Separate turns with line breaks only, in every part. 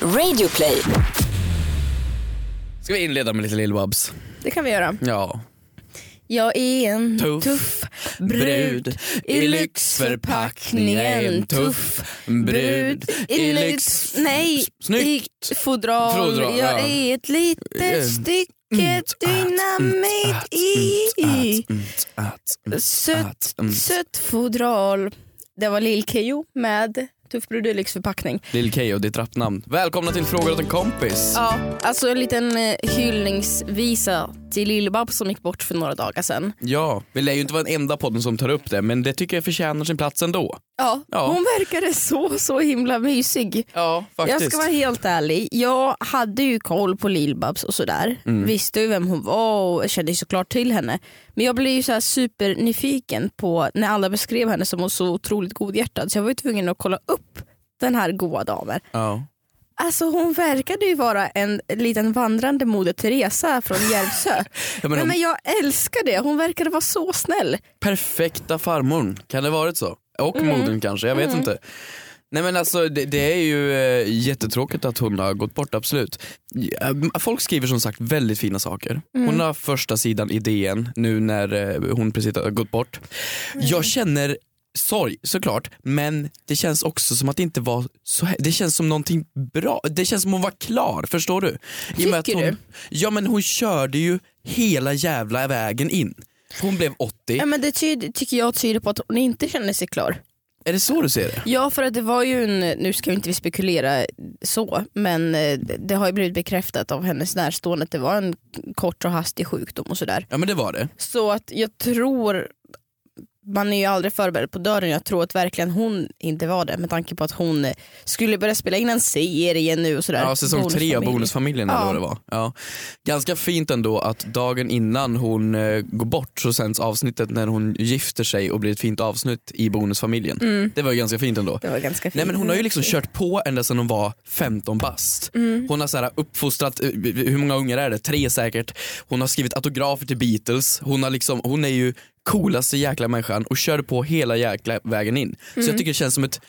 Radioplay.
Ska vi inleda med lite lill Babs?
Det kan vi göra.
Ja.
Jag är en
Tuff
tuff, brud i lyxförpackningen. Tuff brud i lyx... Nej,
Snyggt.
i fodral.
Fodral, ja.
Jag är ett
Mm.
litet
Mm.
stycke dynamit i
Mm, att, mm,
sött,
att, mm.
sött fodral. Det var lill Keyyo med Tuff brud i lyxförpackning.
Lill Keyyo, ditt rappnamn. Välkomna till Frågar åt en kompis.
Ja, alltså en liten eh, hyllningsvisa till Lill-Babs som gick bort för några dagar sedan.
Ja, vi lär ju inte vara den enda podden som tar upp det men det tycker jag förtjänar sin plats ändå.
Ja,
Ja.
hon verkade så, så himla mysig.
Ja, faktiskt.
Jag ska vara helt ärlig, jag hade ju koll på Lill-Babs och sådär.
Mm.
Visste ju vem hon var och kände ju såklart till henne. Men jag blev ju så här supernyfiken på när alla beskrev henne som så otroligt godhjärtad så jag var ju tvungen att kolla upp den här goa damen.
ja.
Alltså hon verkade ju vara en liten vandrande Moder Teresa från Järvsö.
Ja, men
Nej,
de
men jag älskar det, hon verkade vara så snäll.
perfekta farmorn, kan det varit så? Och
Mm.
modern kanske, jag vet inte. Nej men alltså det, det är ju eh, jättetråkigt att hon har gått bort, absolut. Ja, m- Folk skriver som sagt väldigt fina saker.
Mm.
Hon har första sidan i DN nu när eh, hon precis har gått bort.
Mm.
Jag känner sorg såklart men det känns också som att det inte var så här. det känns som någonting bra, det känns som hon var klar förstår du? I och med att
Tycker
hon,
du?
Ja men hon körde ju hela jävla vägen in. Hon blev 80,
Ja, men det tyd- tycker jag tyder på att hon inte känner sig klar.
är det så du ser det?
Ja för att det var ju en, nu ska vi inte spekulera så, men eh, det har ju blivit bekräftat av hennes närstående att det var en kort och hastig sjukdom och sådär.
Ja men det var det.
Så att jag tror, man är ju aldrig förberedd på dörren, jag tror att verkligen hon inte var det med tanke på att hon eh, skulle börja spela in en serie nu och sådär.
Ja, säsong tre av
Bonusfamilj.
Bonusfamiljen eller
Ja.
vad det var. Ja. Ganska fint ändå att dagen innan hon eh, går bort så sänds avsnittet när hon gifter sig och blir ett fint avsnitt i Bonusfamiljen. Det var ju ganska fint ändå.
Det var ganska fint.
Nej men hon har ju liksom kört på ända sedan hon var 15 bast.
Mm.
Hon har så här uppfostrat, eh, hur många ungar är det? Tre säkert. Hon har skrivit autografer till Beatles. Hon, har liksom, hon är ju coolaste jäkla människan och körde på hela jäkla vägen in. Så
Mm.
jag tycker det känns som ett,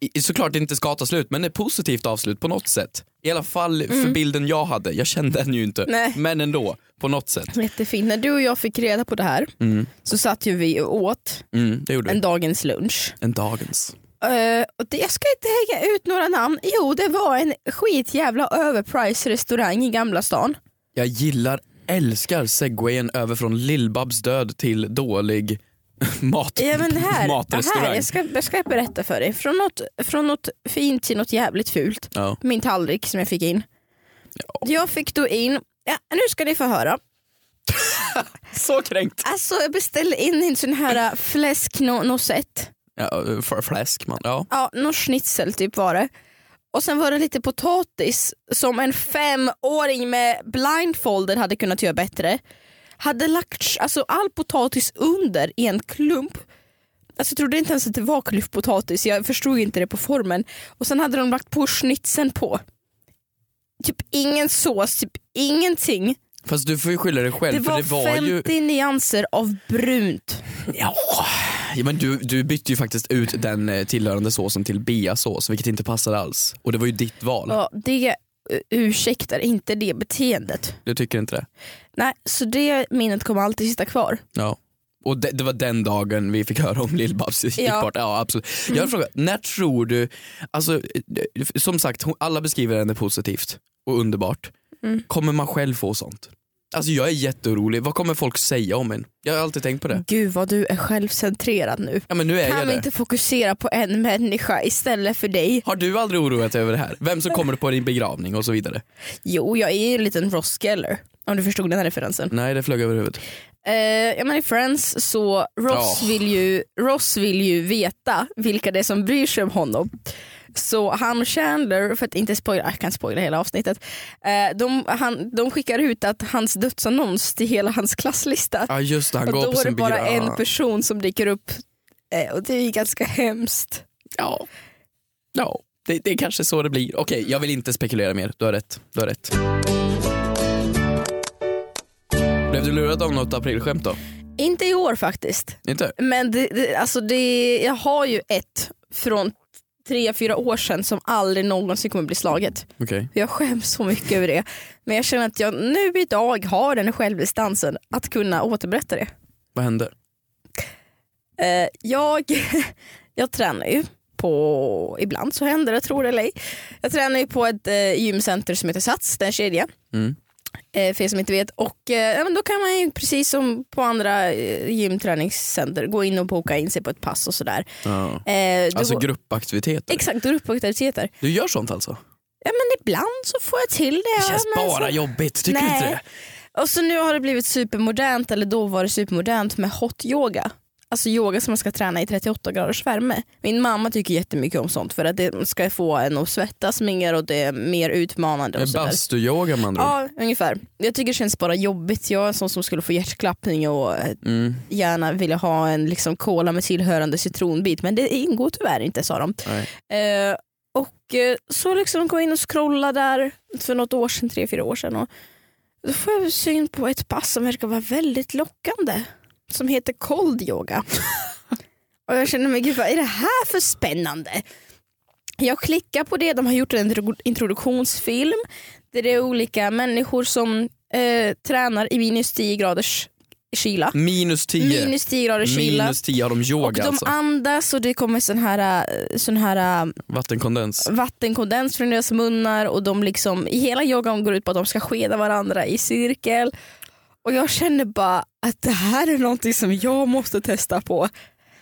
i- såklart det inte ska ta slut men ett positivt avslut på något sätt. I alla fall för bilden jag hade, jag kände den ju inte.
Mm. Nej.
Men ändå, på något sätt.
Jättefint. När du och jag fick reda på det här så satt ju vi och åt
Mm, det gjorde
en
en,
dagens lunch.
en dagens.
Eh, och det, jag ska inte hänga ut några namn. Jo, det var en skitjävla överprice restaurang i Gamla stan.
Jag gillar, älskar segwayen över från Lill-Babs död till dålig mat,
Ja, men det här,
matrestaurang.
det här jag, ska, jag ska berätta för dig. Från något, från något fint till något jävligt fult.
Ja.
Min tallrik som jag fick in. Jag fick då in, ja, nu ska ni få höra.
Så kränkt.
Alltså jag beställde in en sån här äh, fläsk no, no set.
Ja, för fläsk man. Ja.
Ja, någon schnitzel typ var det. Och sen var det lite potatis som en femåring med blindfolder hade kunnat göra bättre. Hade lagt alltså, all potatis under i en klump. Alltså, jag trodde inte ens att det var klyftpotatis, jag förstod inte det på formen. Och sen hade de lagt på schnitzeln på. Typ ingen sås, typ ingenting.
Fast du får ju skylla dig själv
Det
för
var,
det var
50
ju...
nyanser av brunt.
Ja. Ja, men du, du bytte ju faktiskt ut den eh, tillhörande såsen till beasås vilket inte passade alls. Och det var ju ditt val.
Ja, det eh, ursäktar inte det beteendet.
Du tycker inte det?
Nej, så det minnet kommer alltid sitta kvar.
Ja. Och det, det var den dagen vi fick höra om Lill-Babs gick
Ja.
bort. Ja, absolut. Jag har en fråga, när tror du, alltså, eh, som sagt hon- alla beskriver henne positivt och underbart.
Mm.
Kommer man själv få sånt? Alltså jag är jätteorolig, vad kommer folk säga om en? Jag har alltid tänkt på det.
Gud vad du är självcentrerad nu.
Ja men nu är Mm. jag
Kan vi
det.
inte fokusera på en människa istället för dig?
Har du aldrig oroat dig över det här? Vem som kommer på din begravning och så vidare?
Jo, jag är ju en liten Ross Geller. Om du förstod den här referensen.
Nej det flög över huvudet.
Eh, ja, men I Friends så Ross,
Ja.
vill ju, Ross vill ju veta vilka det är som bryr sig om honom. Så han och Chandler, för att inte spoila, jag kan spoila hela avsnittet. eh, de, han, de skickar ut att hans dödsannons till hela hans klasslista.
Ja just det, han
och
går
då
på
är det
sin Ah.
bara
begravning.
en person som dyker upp. Eh, och det är ju ganska hemskt.
Ja, ja. Det, det är kanske så det blir. Okej, jag vill inte spekulera mer. Du har rätt. Du har rätt. Blev du lurad av något aprilskämt då?
Inte i år faktiskt.
Inte?
Men det, det, alltså det, jag har ju ett från tre, fyra år sedan som aldrig någonsin kommer bli slaget.
Okej.
Jag skäms så mycket över det. Men jag känner att jag nu idag har den självdistansen att kunna återberätta det.
Vad hände?
Eh, jag, jag tränar ju på, ibland så händer det tror det eller ej. Jag tränar ju på ett eh, gymcenter som heter Sats, den kedjan.
Mm.
Eh, för er som inte vet. Och eh, ja, men då kan man ju precis som på andra eh, gymträningscenter gå in och boka in sig på ett pass och sådär.
Ja.
Eh, då-
Alltså gruppaktiviteter.
Exakt, gruppaktiviteter.
Du gör sånt alltså?
Ja men ibland så får jag till det.
Det känns
ja, men
bara
så...
jobbigt, tycker du
Nej.
inte det?
Och så nu har det blivit supermodernt, eller då var det supermodernt med hot yoga. Alltså yoga som man ska träna i 38 graders värme. Min mamma tycker jättemycket om sånt för att det ska få en att svettas mer och det är mer utmanande. Och
Med
sådär.
bastuyoga man andra ord.
Ja, ungefär. Jag tycker det känns bara jobbigt. Jag är en sån som skulle få hjärtklappning och eh,
Mm.
gärna vilja ha en liksom cola med tillhörande citronbit. Men det ingår tyvärr inte sa de.
Nej.
Eh, och eh, så liksom går jag in och scrollar där för något år sedan, tre, fyra år sedan. Och då får jag syn på ett pass som verkar vara väldigt lockande. Som heter cold yoga. och jag känner mig, gud vad är det här för spännande? Jag klickar på det, de har gjort en intro- introduktionsfilm. Där det är olika människor som eh, tränar i minus 10 graders kyla.
Minus 10.
Minus 10 graders kyla.
Minus 10 har de
Och
yoga
de
alltså.
andas och det kommer sån här, eh, sån här eh,
Vattenkondens.
vattenkondens från deras munnar och de liksom, i hela yogan går ut på att de ska skeda varandra i cirkel. Och jag känner bara att det här är någonting som jag måste testa på.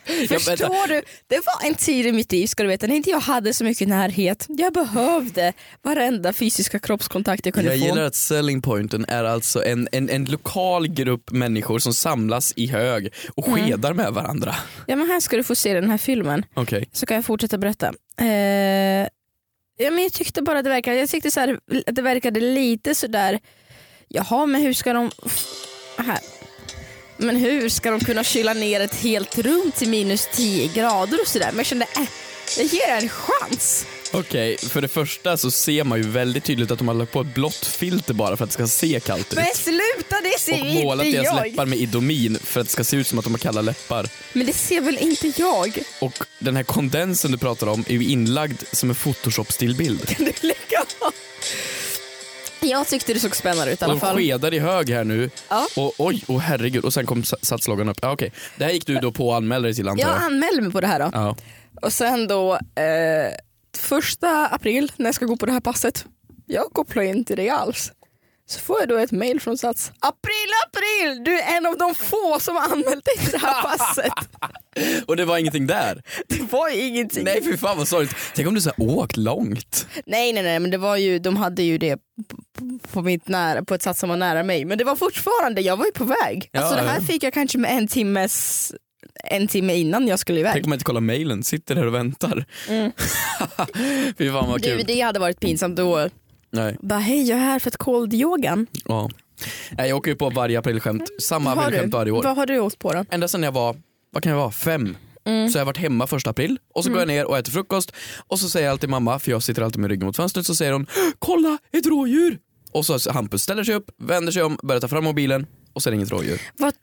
vänta.
Förstår du? Det var en tid i mitt liv ska du veta när inte jag hade så mycket närhet. Jag behövde varenda fysiska kroppskontakt jag kunde
Jag
få.
gillar att selling pointen är alltså en, en, en lokal grupp människor som samlas i hög och
Mm.
skedar med varandra.
Ja, men här ska du få se den här filmen.
Okej.
så kan jag fortsätta berätta. Eh, ja, men jag tyckte bara det verkade, jag tyckte så här, att det verkade lite sådär, jaha men hur ska de, här. Men hur ska de kunna kyla ner ett helt rum till minus 10 grader och sådär? Men jag kände, äh, jag ger det en chans.
Okej, för det första så ser man ju väldigt tydligt att de har lagt på ett blått filter bara för att det ska se kallt ut.
Men sluta, det ser
Och målat
inte
deras
jag.
läppar med Idomin för att det ska se ut som att de har kalla läppar.
Men det ser väl inte jag?
Och den här kondensen du pratar om är ju inlagd som en photoshop-stillbild.
Kan du lägga av? Jag tyckte det såg spännande ut i alla
De
fall.
skedar i hög här nu.
Ja.
Och oj, och herregud. Och sen kom sa- satsloggan upp. Ja, okej. Det här gick du då på och anmälde dig till antar
Jag
jag.
anmälde mig på det här då.
Ja.
Och sen då, eh, första april när jag ska gå på det här passet, jag kopplar inte det alls. Så får jag då ett mail från Sats. April, april! Du är en av de få som har anmält dig till det här passet.
Och det var ingenting där.
Det var ju ingenting.
Nej fy fan vad sorgligt. Tänk om du så här åkt långt.
nej, nej, nej, men det var ju, de hade ju det på, på, mitt nära, på ett sats som var nära mig. Men det var fortfarande, jag var ju på väg.
Ja,
alltså det här
ja.
fick jag kanske med en timmes, en timme innan jag skulle iväg.
Tänk om man inte kollar mailen, sitter där och väntar. fy fan vad
Mm. Du,
kul.
det hade varit pinsamt då.
Nej,
Bara hej, jag är här för att cold-yogan.
ja. Nej, jag åker ju på varje aprilskämt. Samma
Mm. Har du?
aprilskämt varje år.
Vad har du åkt på då?
ända sedan jag var, vad kan jag vara, fem.
Mm.
Så jag har varit hemma första april och så går jag ner och äter frukost och så säger jag alltid mamma, för jag sitter alltid med ryggen mot fönstret, så säger hon “Kolla, ett rådjur!” Och så Hampus ställer sig upp, vänder sig om, börjar ta fram mobilen och ser inget rådjur.
Vad?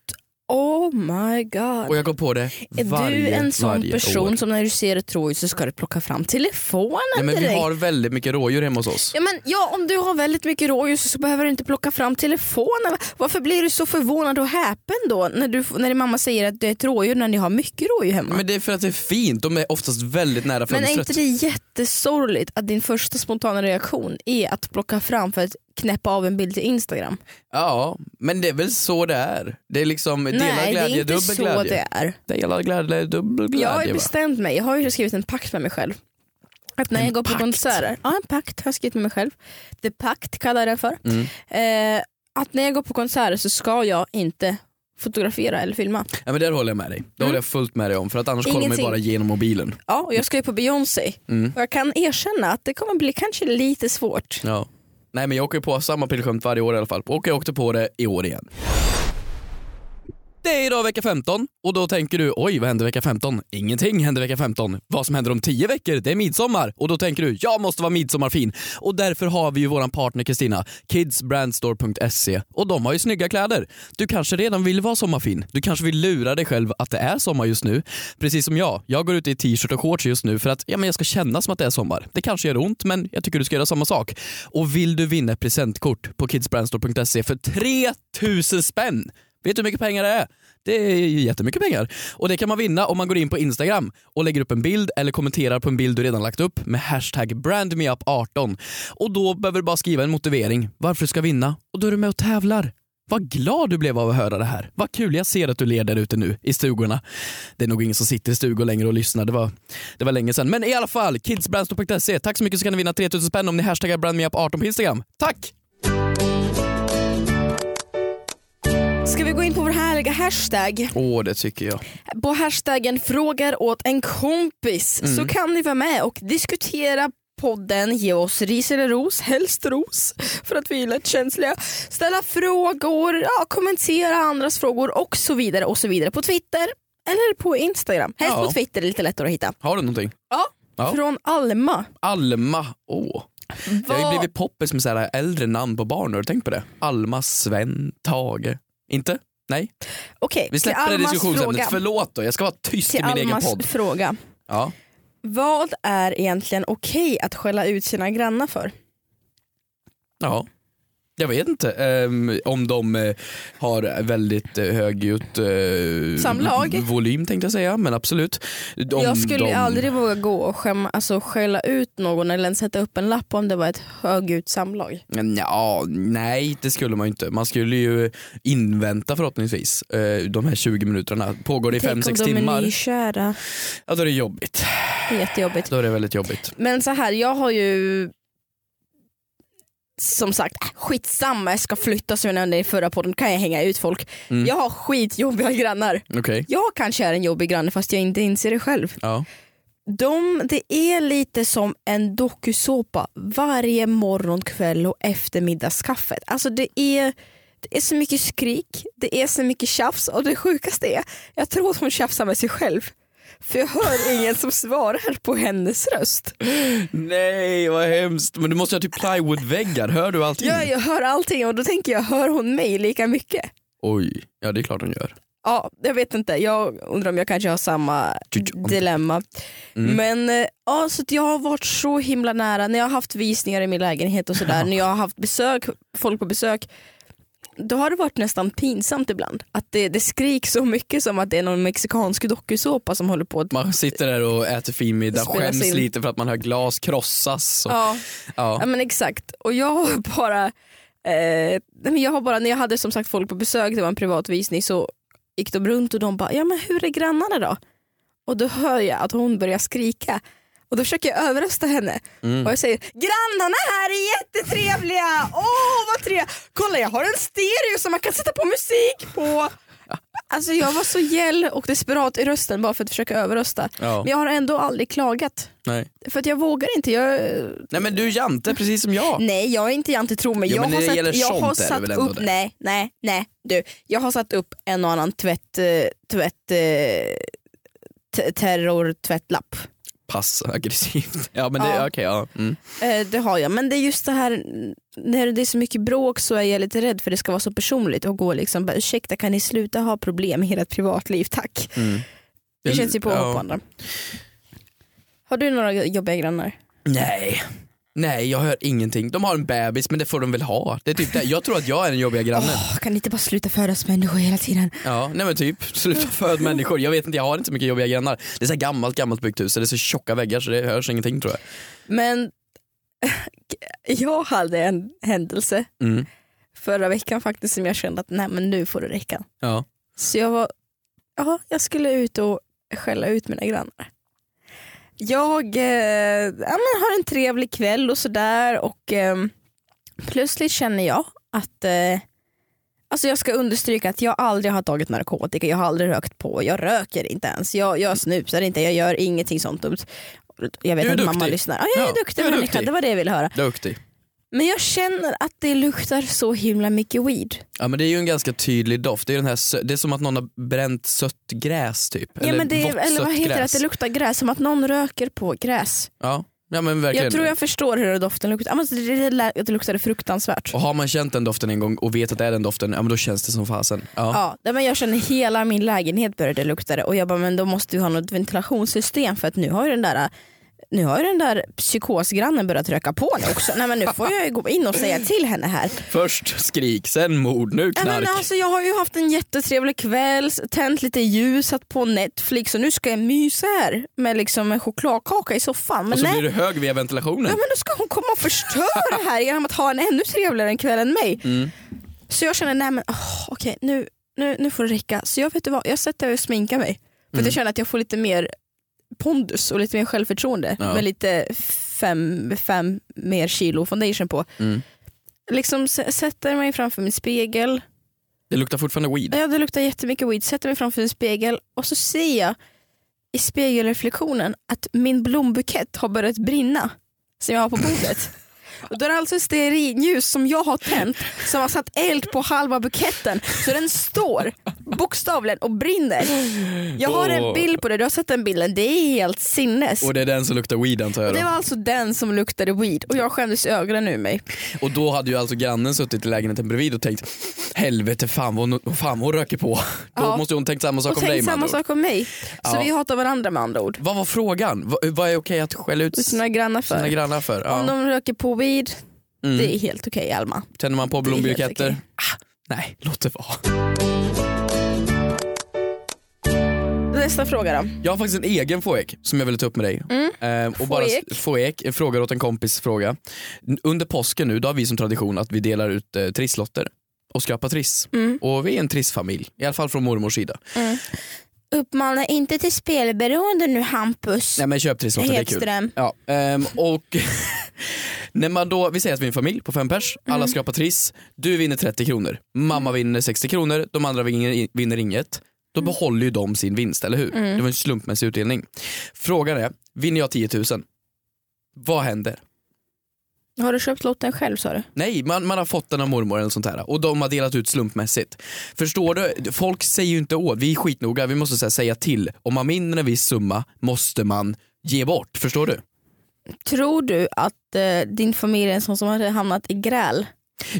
Oh my god.
Och jag går på det
Är
varje,
du en sån
varje
person
år.
som när du ser ett rådjur så ska du plocka fram telefonen
Nej, men vi
direkt?
har väldigt mycket rådjur hemma hos oss.
Ja, men, ja, om du har väldigt mycket rådjur så, så behöver du inte plocka fram telefonen. Varför blir du så förvånad och häpen då när, du, när din mamma säger att du är ett rådjur när ni har mycket rådjur hemma?
Men det är för att det är fint, de är oftast väldigt nära
Men är
fönstret.
inte det jättesorgligt att din första spontana reaktion är att plocka fram för att knäppa av en bild till Instagram?
Ja, men det är väl så det är. Det är liksom delad
Nej, det är
glädje,
inte
dubbel
så
glädje.
det är.
Delad glädje, dubbel
Jag
glädje.
har ju
va?
bestämt mig, jag har ju skrivit en pakt med mig själv. Att när
En
jag går på
pakt?
konserter, ja en pakt har jag skrivit med mig själv. The pakt kallar jag den för.
Mm.
Eh, att när jag går på konserter så ska jag inte fotografera eller filma.
Ja, men där håller jag med dig. Det håller jag fullt med dig om för att annars kollar man ju
Mm. Ingenting.
bara genom mobilen.
Ja, och jag ska ju på Beyoncé.
Mm.
Och jag kan erkänna att det kommer bli kanske lite svårt.
Ja. Nej men jag åker ju på samma aprilskämt varje år i alla fall och jag åkte på det i år igen. Det är idag vecka 15 och då tänker du oj vad hände vecka 15? Ingenting hände vecka 15. Vad som händer om 10 veckor det är midsommar och då tänker du jag måste vara midsommarfin. Och därför har vi ju våran partner Kristina, kidsbrandstore.se och de har ju snygga kläder. Du kanske redan vill vara sommarfin. Du kanske vill lura dig själv att det är sommar just nu. Precis som jag. Jag går ut i t-shirt och shorts just nu för att ja, men jag ska känna som att det är sommar. Det kanske gör ont men jag tycker du ska göra samma sak. Och vill du vinna ett presentkort på kidsbrandstore.se för 3000 spänn Vet du hur mycket pengar det är? Det är ju jättemycket pengar. Och det kan man vinna om man går in på Instagram och lägger upp en bild eller kommenterar på en bild du redan lagt upp med hashtag brandmeup18. Och då behöver du bara skriva en motivering varför du ska vinna och då är du med och tävlar. Vad glad du blev av att höra det här. Vad kul, jag ser att du ler där ute nu i stugorna. Det är nog ingen som sitter i stugor längre och lyssnar, det var, det var länge sedan. Men i alla fall, kidsbrandstore.se. Tack så mycket så kan ni vinna 3000 spänn om ni hashtaggar brandmeup18 på Instagram. Tack!
Ska vi gå in på vår härliga hashtag?
Åh, det tycker jag.
På hashtaggen frågar åt en kompis
Mm.
så kan ni vara med och diskutera podden, ge oss ris eller ros, helst ros för att vi är lätt känsliga. Ställa frågor, ja, kommentera andras frågor och så vidare och så vidare på Twitter eller på Instagram. Helst
Ja.
på Twitter, det är lite lättare att hitta.
Har du någonting?
Ja.
Ja.
Från Alma.
Alma, åh. Det har
Vad-
ju blivit poppis med så här äldre namn på barn, har du tänkt på det? Alma, Sven, Tage. Inte? Nej?
Okej,
Vi
till
släpper det
Almas
diskussionsämnet.
fråga.
Förlåt då, jag ska vara tyst i
Till
min egen
Almas
podd.
fråga.
Ja.
Vad är egentligen okej att skälla ut sina grannar för?
ja. Jag vet inte ehm, om de eh, har väldigt eh, högljutt eh,
Samlag.
volym tänkte jag säga, men absolut. Om
jag skulle
de...
aldrig våga gå och skämma, alltså, skälla ut någon eller ens sätta upp en lapp om det var ett högljutt samlag.
Ja, nej det skulle man ju inte. Man skulle ju invänta förhoppningsvis eh, de här 20 minuterna. Pågår det i
Tänk om
5-6
de
timmar,
är nykära.
ja då är det jobbigt.
Det är jättejobbigt.
Då är det väldigt jobbigt.
Men så här, jag har ju som sagt, äh, skitsamma jag ska flytta som jag nämnde i förra podden, kan jag hänga ut folk.
Mm.
Jag har skitjobbiga grannar.
Okej,
Jag kanske är en jobbig granne fast jag inte inser det själv.
ja.
De, det är lite som en dokusåpa varje morgon, kväll och eftermiddagskaffet. Alltså det är, det är så mycket skrik, det är så mycket tjafs och det sjukaste är, jag tror att hon tjafsar med sig själv. För jag hör ingen som svarar på hennes röst.
Nej vad hemskt. Men du måste ha typ plywoodväggar, hör du allting?
Jag, jag hör allting och då tänker jag, hör hon mig lika mycket?
Oj, ja det är klart hon gör.
Ja, jag vet inte. Jag undrar om jag kanske har samma
Tju-tju.
dilemma. Men eh, ja, så att jag har varit så himla nära när jag har haft visningar i min lägenhet och sådär, när jag har haft besök, folk på besök. Då har det varit nästan pinsamt ibland. Att det, det skriks så mycket som att det är någon mexikansk dokusåpa som håller på att...
Man sitter där och äter fin middag,
Spelas
skäms
in.
lite för att man hör glas krossas. Och,
Ja,
ja.
ja men exakt. Och jag har bara, eh, nej, men jag har bara, när jag hade som sagt folk på besök, det var en privat visning, så gick de runt och de bara, ja men hur är grannarna då? Och då hör jag att hon börjar skrika. Och då försöker jag överrösta henne.
Mm.
Och jag säger grannarna här är jättetrevliga! Åh vad trevligt! Kolla jag har en stereo som man kan sätta på musik på! Alltså jag var så gäll och desperat i rösten bara för att försöka överrösta.
Ja.
Men jag har ändå aldrig klagat.
Nej.
För att jag vågar inte. Jag,
Nej men du är jante precis som jag.
Nej jag är inte jante tro mig.
Jo,
jag
men när
har
det gäller
satt, jag
sånt
har
är det
satt
väl ändå
upp,
det.
nej, nej, nej du. Jag har satt upp en och annan tvätt, eh, tvätt, eh, t- terrortvättlapp.
Pass aggressivt. Ja men det,
Ja.
okej ja. Mm.
Eh, det har jag, men det är just det här när det är så mycket bråk så är jag lite rädd för det ska vara så personligt och gå liksom bara ursäkta kan ni sluta ha problem med ert privatliv tack.
Mm.
Det känns ju på
Ja.
på andra. Har du några jobbiga grannar?
Nej. Nej jag hör ingenting. De har en bebis men det får de väl ha. Det är typ det. Jag tror att jag är den jobbiga grannen.
Åh, kan ni inte bara sluta födas människor hela tiden?
Ja, nej men typ. Sluta föd människor. Jag vet inte, jag har inte så mycket jobbiga grannar. Det är så här gammalt, gammalt byggt hus. så Det är så tjocka väggar så det hörs ingenting tror jag.
Men jag hade en händelse
Mm.
förra veckan faktiskt som jag kände att nej men nu får det räcka.
Ja.
Så jag var, ja jag skulle ut och skälla ut mina grannar. Jag eh, ja, men har en trevlig kväll och sådär och eh, plötsligt känner jag att eh, Alltså jag ska understryka att jag aldrig har tagit narkotika, jag har aldrig rökt på, jag röker inte ens, jag, jag snusar inte, jag gör ingenting sånt dumt. Jag vet
Du är
att mamma
duktig.
lyssnar. Ja, jag är
Ja,
duktig
du är
människa,
duktig.
det var det jag ville höra.
Duktig.
Men jag känner att det luktar så himla mycket weed.
Ja men det är ju en ganska tydlig doft. Det är, den här, sö- det är som att någon har bränt sött gräs typ.
ja, men det,
vått
eller vad
sött
heter det? Att
gräs.
det luktar gräs, som att någon röker på gräs.
ja. ja men verkligen.
Jag tror jag förstår hur den doften luktar. Ja, men det, det, det, det luktade fruktansvärt.
Och har man känt den doften en gång och vet att det är den doften, ja men då känns det som fasen. Ja.
Ja, nej, men jag känner hela min lägenhet började lukta det och jag bara men då måste vi ha något ventilationssystem för att nu har ju den där nu har ju den där psykosgrannen börjat röka på nu också. Nej men nu får jag ju gå in och säga till henne här.
Först skrik, sen mord, nu
Nej,
knark.
men alltså, jag har ju haft en jättetrevlig kväll, s- tänt lite ljus, satt på Netflix och nu ska jag mysa här med liksom en chokladkaka i soffan. Men
och så
nej,
blir du hög via ventilationen.
Ja men då ska hon komma och förstöra det här genom att ha en ännu trevligare en kväll än mig.
Mm.
Så jag känner, nej men åh, okej nu, nu, nu får det räcka. Så jag vet du vad, jag sätter mig och sminkar mig. För
Mm.
att jag känner att jag får lite mer pondus och lite mer självförtroende
Ja.
med lite fem, fem mer kilo foundation på.
Mm.
Liksom s- sätter mig framför min spegel,
Det luktar fortfarande weed.
ja, det luktar jättemycket weed, sätter mig framför min spegel och så ser jag i spegelreflektionen att min blombukett har börjat brinna som jag har på bordet. Och då är det alltså stearinljus som jag har tänt som har satt eld på halva buketten så den står bokstavligen och brinner. Jag har en
Åh.
bild på det, du har sett den bilden, det är helt sinnes.
Och det är den som luktar weed antar jag.
Det
Då.
var alltså den som luktade weed och jag skämdes ögonen ur mig.
Och då hade ju alltså grannen suttit i lägenheten bredvid och tänkt helvete fan vad hon, fan, vad hon röker på.
Ja.
Då måste hon tänkt samma sak
Och
om dig
tänk
med
samma
andra ord.
sak om mig. Så
Ja.
vi hatar varandra med andra ord.
Vad var frågan? Vad, vad är okej att skälla ut
Sina grannar för.
sina grannar för? Ja.
Om de röker på weed,
Mm.
det är helt okej Alma.
Tänder man på
är helt
blombuketter?
okej.
Ah, nej, låt det vara.
Nästa fråga då.
Jag har faktiskt en egen fåek som jag ville ta upp med dig. Eh, och bara,
Mm. Fåek?
fåek, en fråga åt en kompis fråga. N- Under påsken nu, då har vi som tradition att vi delar ut eh, trisslotter och skrapar triss.
Mm.
Och vi är en trissfamilj, i alla fall från mormors sida.
Uppmana inte till spelberoende nu Hampus
Nej men köp trisslotter, det är kul.
Hedström.
Ja, ehm, och när man då, vi säger att vi är en familj på fem pers, alla skrapar triss, du vinner 30 kronor, mamma vinner 60 kronor, de andra vinner, vinner inget. Då behåller ju de sin vinst, eller hur? Det var en slumpmässig utdelning. Frågan är, vinner jag 10 000, vad händer?
Har du köpt lotten själv sa du?
Nej, man, man har fått den av mormor eller sånt här och de har delat ut slumpmässigt. Förstår du? Folk säger ju inte åt, vi är skitnoga, vi måste så här, säga till. Om man vinner en viss summa måste man ge bort, förstår du?
Tror du att eh, din familj är en sån som har hamnat i gräl?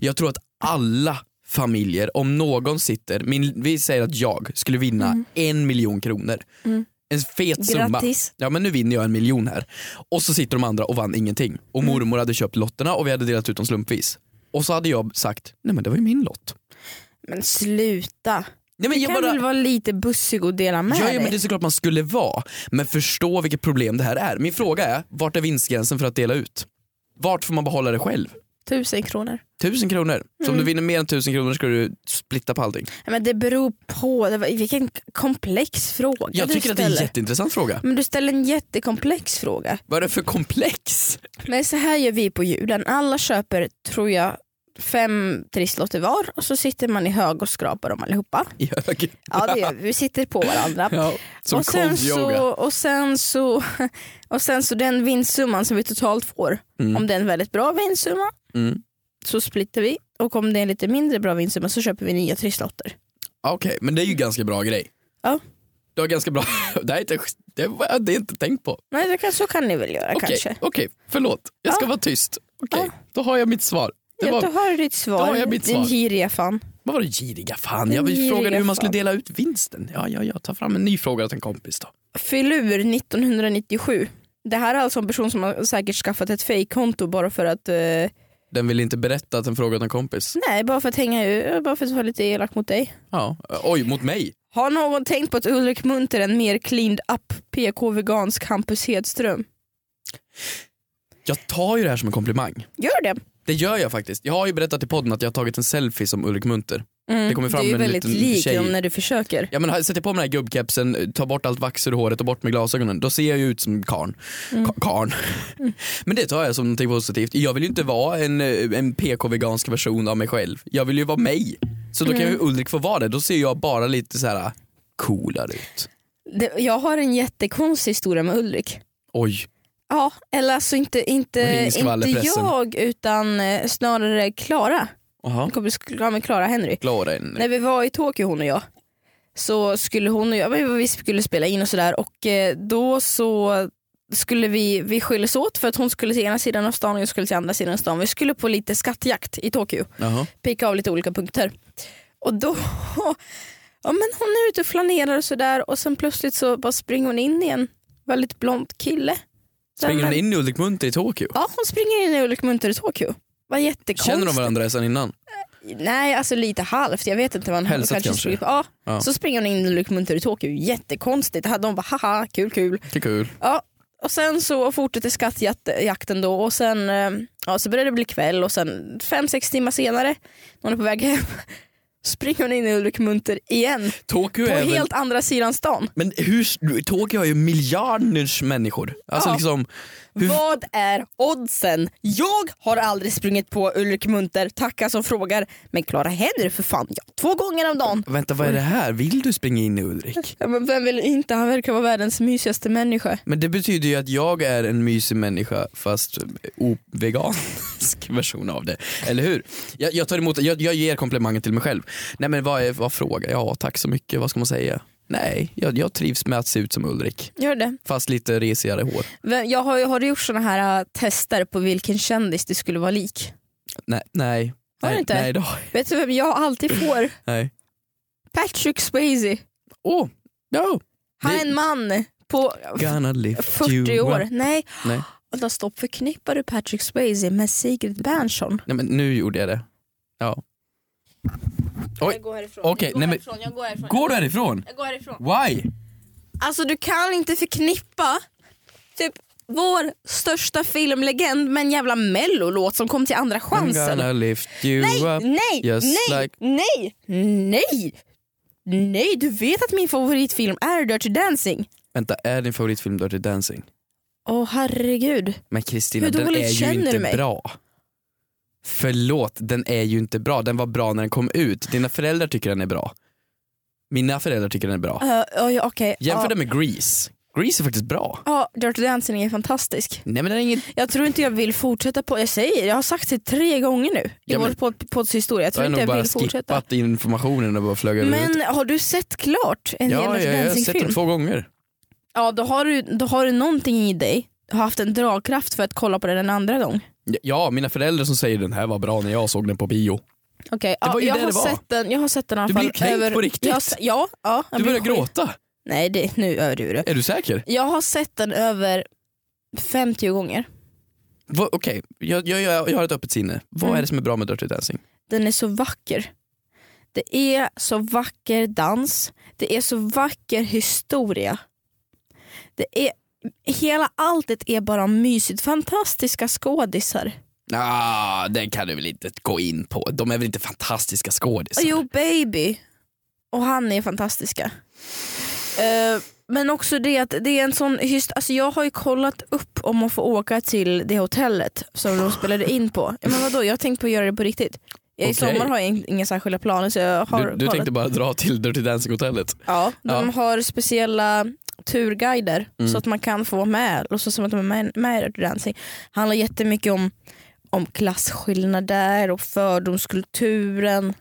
Jag tror att alla familjer, om någon sitter, min, vi säger att jag skulle vinna
Mm.
en miljon kronor. En fet summa.
Grattis.
Ja men nu vinner jag en miljon här. Och så sitter de andra och vann ingenting. Och
Mm.
mormor hade köpt lotterna och vi hade delat ut dem slumpvis. Och så hade jag sagt, nej men det var ju min lott.
Men sluta.
Nej, men
Du kan väl vara lite bussig och dela med
Ja,
dig?
ja, men det är såklart man skulle vara. Men förstå vilket problem det här är. Min fråga är, vart är vinstgränsen för att dela ut? Vart får man behålla det själv?
Tusen kronor.
Tusen kronor. Så
Mm.
om du vinner mer än tusen kronor ska du splitta på allting.
Ja, Men det beror på, det var, vilken komplex fråga
Jag
du
tycker att det är en
ställer.
jätteintressant fråga.
men du ställer en jättekomplex fråga.
Vad är det för komplex?
Men så här gör vi på julen. Alla köper, tror jag, fem trisslotter var och så sitter man i hög och skrapar dem allihopa.
I höger.
Ja det gör vi, vi sitter på varandra.
Ja, som
och, sen
cold yoga.
så, och, sen så, och sen så den vinstsumman som vi totalt får,
Mm.
om det är en väldigt bra vinstsumma
Mm.
så splittar vi och om det är en lite mindre bra vinstsumma så köper vi nya trisslotter.
Okej, men det är ju ganska bra grej.
Ja.
Du har ganska bra... Det här är inte... Det var det är inte tänkt på.
Nej, det kan, så kan ni väl göra
Okej,
kanske.
okej, förlåt. Jag ska
Ja.
vara tyst. Okej,
Ja.
då har jag mitt svar. Det
Ja,
var...
då har du ditt
då
svar,
har jag mitt
din
svar.
giriga fan.
Vad var det giriga fan?
Den
Jag frågade
giriga
hur man skulle
fan.
dela ut vinsten. Ja, ja, ja. Ta fram en ny fråga åt en kompis då.
Filur 1997. Det här är alltså en person som har säkert skaffat ett fejkkonto bara för att eh,
Den vill inte berätta att den frågat en kompis.
Nej, bara för att hänga ut, eh, bara för att vara lite elak mot dig.
Ja. Oj, mot mig?
Har någon tänkt på att Ulrik Munter är en mer cleaned up PK-vegansk Hampus Hedström?
Jag tar ju det här som en komplimang.
Gör det.
Det gör jag faktiskt. Jag har ju berättat i podden att jag har tagit en selfie som Ulrik Munter.
Mm.
Det kommer fram
du är
en
väldigt
liten
lik
tjej.
dem när du försöker.
Ja, men har- sätter jag på mig den här gubbkepsen, tar bort allt vax ur håret och bort med glasögonen, då ser jag ju ut som karn.
Mm.
Ka- karn. Men det tar jag som någonting positivt. Jag vill ju inte vara en, eh, en PK-vegansk version av mig själv. Jag vill ju vara mig. Så då kan
Mm.
ju Ulrik få vara det. Då ser jag bara lite så här ah, coolare ut.
Det, jag har en jättekonstig historia med Ulrik.
Oj.
Ja, eller alltså inte,
Och
inte,
ring
inte
skvallerpressen.
jag utan eh, snarare Klara.
Jaha,
Jag kompis Klara med Klara Henry.
Klara är en-
När vi var i Tokyo hon och jag så skulle hon och jag, men vi skulle spela in och sådär och eh, då så skulle vi, vi skiljas åt för att hon skulle till ena sidan av stan och jag skulle till andra sidan av stan. Vi skulle på lite skattjakt i Tokyo,
Jaha.
picka av lite olika punkter. Och då, ja men hon är ute och flanerar och sådär och sen plötsligt så bara springer hon in i en väldigt blond kille.
Springer hon
Men-
in i Ulrikmunter i Tokyo?
Ja hon springer in i Ulrik Munter i Tokyo. Vad jättekonstigt.
Känner de varandra sedan innan?
Nej, alltså lite halvt. Jag vet inte vad han
Hälsat kanske.
springer- Ja.
Ja.
Så springer hon in i Luke Munter i Tokyo. Jättekonstigt. Hade de bara haha, kul kul.
Det är kul.
Ja. Och sen så fortsätter skattjakten då och sen eh, ja, så börjar det bli kväll och sen fem sex timmar senare när hon är på väg hem springer hon in i Ulrik Munter igen
Tokyo
på
är väl...
helt andra sidan stan.
Men hur, Tokyo har ju miljarders människor. Alltså
Ja.
liksom, hur,
Vad är oddsen? Jag har aldrig sprungit på Ulrik Munter, tacka som frågar. Men Clara Henry för fan, ja, två gånger om dagen.
vänta vad är det här? Vill du springa in i Ulrik?
Ja, men vem vill inte? Han verkar vara världens mysigaste människa.
Men det betyder ju att jag är en mysig människa fast eh, ovegansk version av det. Eller hur? Jag, jag tar emot jag, jag ger komplimangen till mig själv. Nej men vad, är, vad frågar jag? Ja tack så mycket, vad ska man säga? Nej, jag, jag trivs med att se ut som Ulrik.
Gör det.
Fast lite resigare hår.
Vem- Jag har, har du gjort såna här äh, tester på vilken kändis du skulle vara lik?
Nej, nej.
Har du
nej,
inte?
Nej, det har jag-
Vet du vem jag alltid får?
nej.
Patrick Swayze.
Åh, oh, no.
Han är en man på
Gonna lift
40
you
år.
up.
Nej,
Nej.
vänta stopp. Förknippar du Patrick Swayze med Sigrid Bernson?
nej men nu gjorde jag det. Ja. Oj.
går härifrån.
Okej, Jag går nej, men-
jag går härifrån.
Går du härifrån?
Jag går härifrån.
Why?
Alltså du kan inte förknippa typ vår största filmlegend med en jävla mellolåt som kom till andra
I'm
chansen.
gonna lift you
Nej,
up.
nej,
just
nej,
like-
nej, nej! Nej, du vet att min favoritfilm är Dirty Dancing.
Vänta, är din favoritfilm Dirty Dancing?
Åh herregud.
Men Kristina,
Hur
den
dåligt
är ju
känner
inte
du mig?
bra. Förlåt, den är ju inte bra. Den var bra när den kom ut. Dina föräldrar tycker den är bra. Mina föräldrar tycker den är bra.
Uh, Okej, okay.
Jämför den med Grease. Grease är faktiskt bra.
Dirty Dancing är fantastisk.
Nej men den är inget...
Jag tror inte jag vill fortsätta på, jag säger jag har sagt det tre gånger nu i
Ja, men-
vår podd- podds historia. Jag
Jag
tror
har
inte
nog
jag
bara
vill fortsätta.
skippat informationen och bara flög över huvudet.
Men har du sett klart en hel
Ja,
Dirty
ja, jag har sett
Dancing-film?
den två gånger.
Ja, då har, du, då har du någonting i dig. Du har haft en dragkraft för att kolla på den en andra gång.
Ja, mina föräldrar som säger den här var bra när jag såg den på bio.
Okej,
var
ja,
ju
jag,
det det
har
var.
sett den, jag har sett den i alla
Du
fall.
blir kränkt på riktigt.
Jag, har se- ja, ja, jag
Du
blir
börjar
skit-
gråta.
Nej, det, nu överdriver du.
Är du säker?
Jag har sett den över 50 gånger.
Va, Okej, jag, jag, jag, jag har ett öppet sinne. Vad
Mm.
är det som är bra med Dirty Dancing?
Den är så vacker. Det är så vacker dans. Det är så vacker historia. Det är, hela alltet är bara mysigt. Fantastiska skådisar.
Ah, den kan du väl inte gå in på. De är väl inte fantastiska skådisar?
Jo, Baby. Och han är fantastiska. Eh, men också det att det är en sån hyst, alltså jag har ju kollat upp om att få åka till det hotellet som de spelade in på. Ja, Men vadå, jag har tänkt på att göra det på riktigt. Jag- I
Okej.
sommar har jag in- inga särskilda planer så jag har
Du, du
kollat.
tänkte bara dra till Dirty Dancing-hotellet?
Ja, de
Ja. Mm.
har speciella turguider så att man kan få vara med, låtsas som att de är med, med i Dirty Dancing. Handlar jättemycket om, om klasskillnader och fördomskulturen.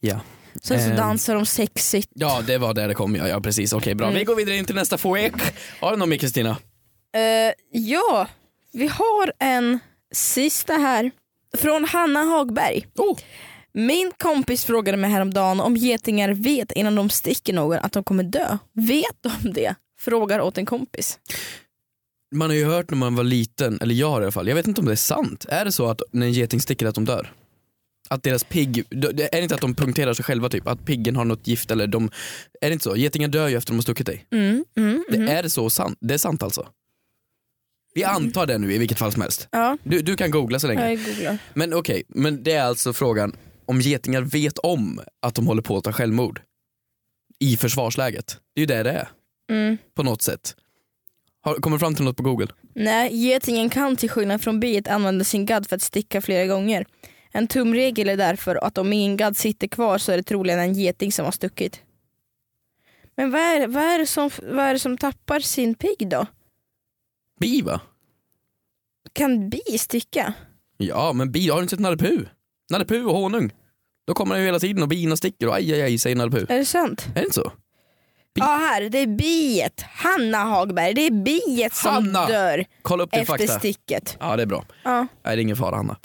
Ja.
Sen så
Ehm.
dansar de sexigt.
ja, det var där det kom. Ja, ja precis. Okej, bra.
Mm.
Vi går vidare in till nästa foek. Har du någon mer Kristina?
Eh, ja, vi har en sista här. Från Hanna Hagberg.
Oh.
Min kompis frågade mig häromdagen om getingar vet innan de sticker någon att de kommer dö. Vet de det? Frågar åt en kompis.
Man har ju hört när man var liten, eller jag har i alla fall, jag vet inte om det är sant. Är det så att när en geting sticker att de dör? Att deras pigg, det- är det inte att de punkterar sig själva typ? Att piggen har något gift eller de, är det inte så? Getingar dör ju efter de har stuckit dig.
Mm, mm,
Det, Är det så sant? Det är sant alltså? Vi antar det nu i vilket fall som helst.
Ja,
Du, du kan googla så länge.
jag googlar.
Men okej, men det är alltså frågan om getingar vet om att de håller på att ta självmord i försvarsläget. Det är ju det det är,
Mm.
på något sätt. Har, kommer du fram till något på google?
Nej, getingen kan till skillnad från biet använda sin gadd för att sticka flera gånger. En tumregel är därför att om ingen gadd sitter kvar så är det troligen en geting som har stuckit. Men vad är, vad är, det, som, vad är det som tappar sin pigg då?
Bi va?
Kan bi sticka?
Ja men bi, har du inte sett Nalle Puh? Nalle Puh och honung. Då kommer den ju hela tiden och bina sticker och aj aj aj säger Nalle Puh.
Är det sant?
Är det inte så? Bi-
Ja här, det är biet. Hanna Hagberg, det är biet som
Hanna!
dör
Kolla upp din
efter
fakta.
sticket.
Ja det är bra.
Ja.
Nej det är ingen fara Hanna.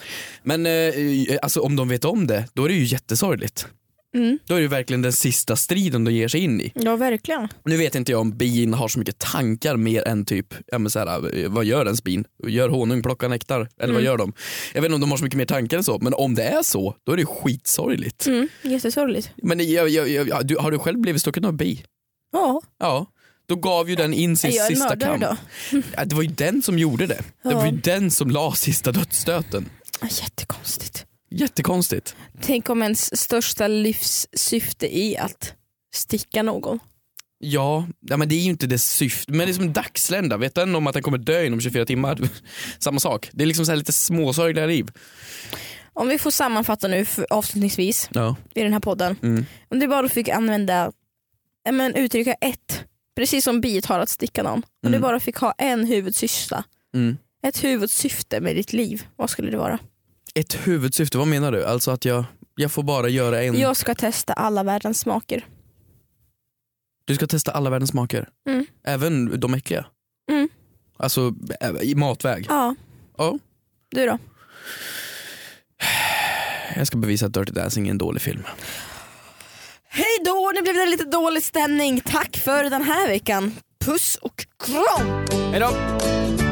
Men eh, alltså, om de vet om det, då är det ju jättesorgligt.
Mm.
Då är det ju verkligen den sista striden de ger sig in i.
ja verkligen.
Nu vet inte jag om bin har så mycket tankar mer än typ, ja, men så här, eh, vad gör ens bin? Gör honung, plockar nektar? Eller
Mm.
vad gör de? Jag vet inte om de har så mycket mer tankar än så, men om det är så, då är det skitsorgligt.
Mm. Jättesorgligt.
Men jag, jag, jag, jag, du, har du själv blivit stucken av bi?
Ja,
Ja. Då gav ju den in sin
är jag en
sista
mördare
kamp.
då?
Ja, Det var ju den som gjorde det. Det
Ja.
var ju den som la sista dödsstöten.
Ja, Jättekonstigt.
Jättekonstigt.
Tänk om ens största livssyfte är att sticka någon.
Ja, ja, men det är ju inte dess syfte. Men det är som en dagslända, vet den om att den kommer dö inom 24 timmar? Samma sak. Det är liksom så här lite småsorgliga liv.
Om vi får sammanfatta nu för, avslutningsvis
Ja.
i den här podden.
Mm.
Om du bara fick använda, ja, men uttrycka ett, precis som biet har att sticka någon. Om du
Mm.
bara fick ha en huvudsyssla,
Mm.
ett huvudsyfte med ditt liv, vad skulle det vara?
Ett huvudsyfte, vad menar du? Alltså att jag, jag får bara göra en...
Jag ska testa alla världens smaker.
Du ska testa alla världens smaker?
Mm.
Även de äckliga?
Mm.
Alltså ä- i matväg?
Ja,
Ja.
du då?
Jag ska bevisa att Dirty Dancing är en dålig film.
Hej då, nu blev det lite dålig stämning. Tack för den här veckan. Puss och kram!
Hejdå!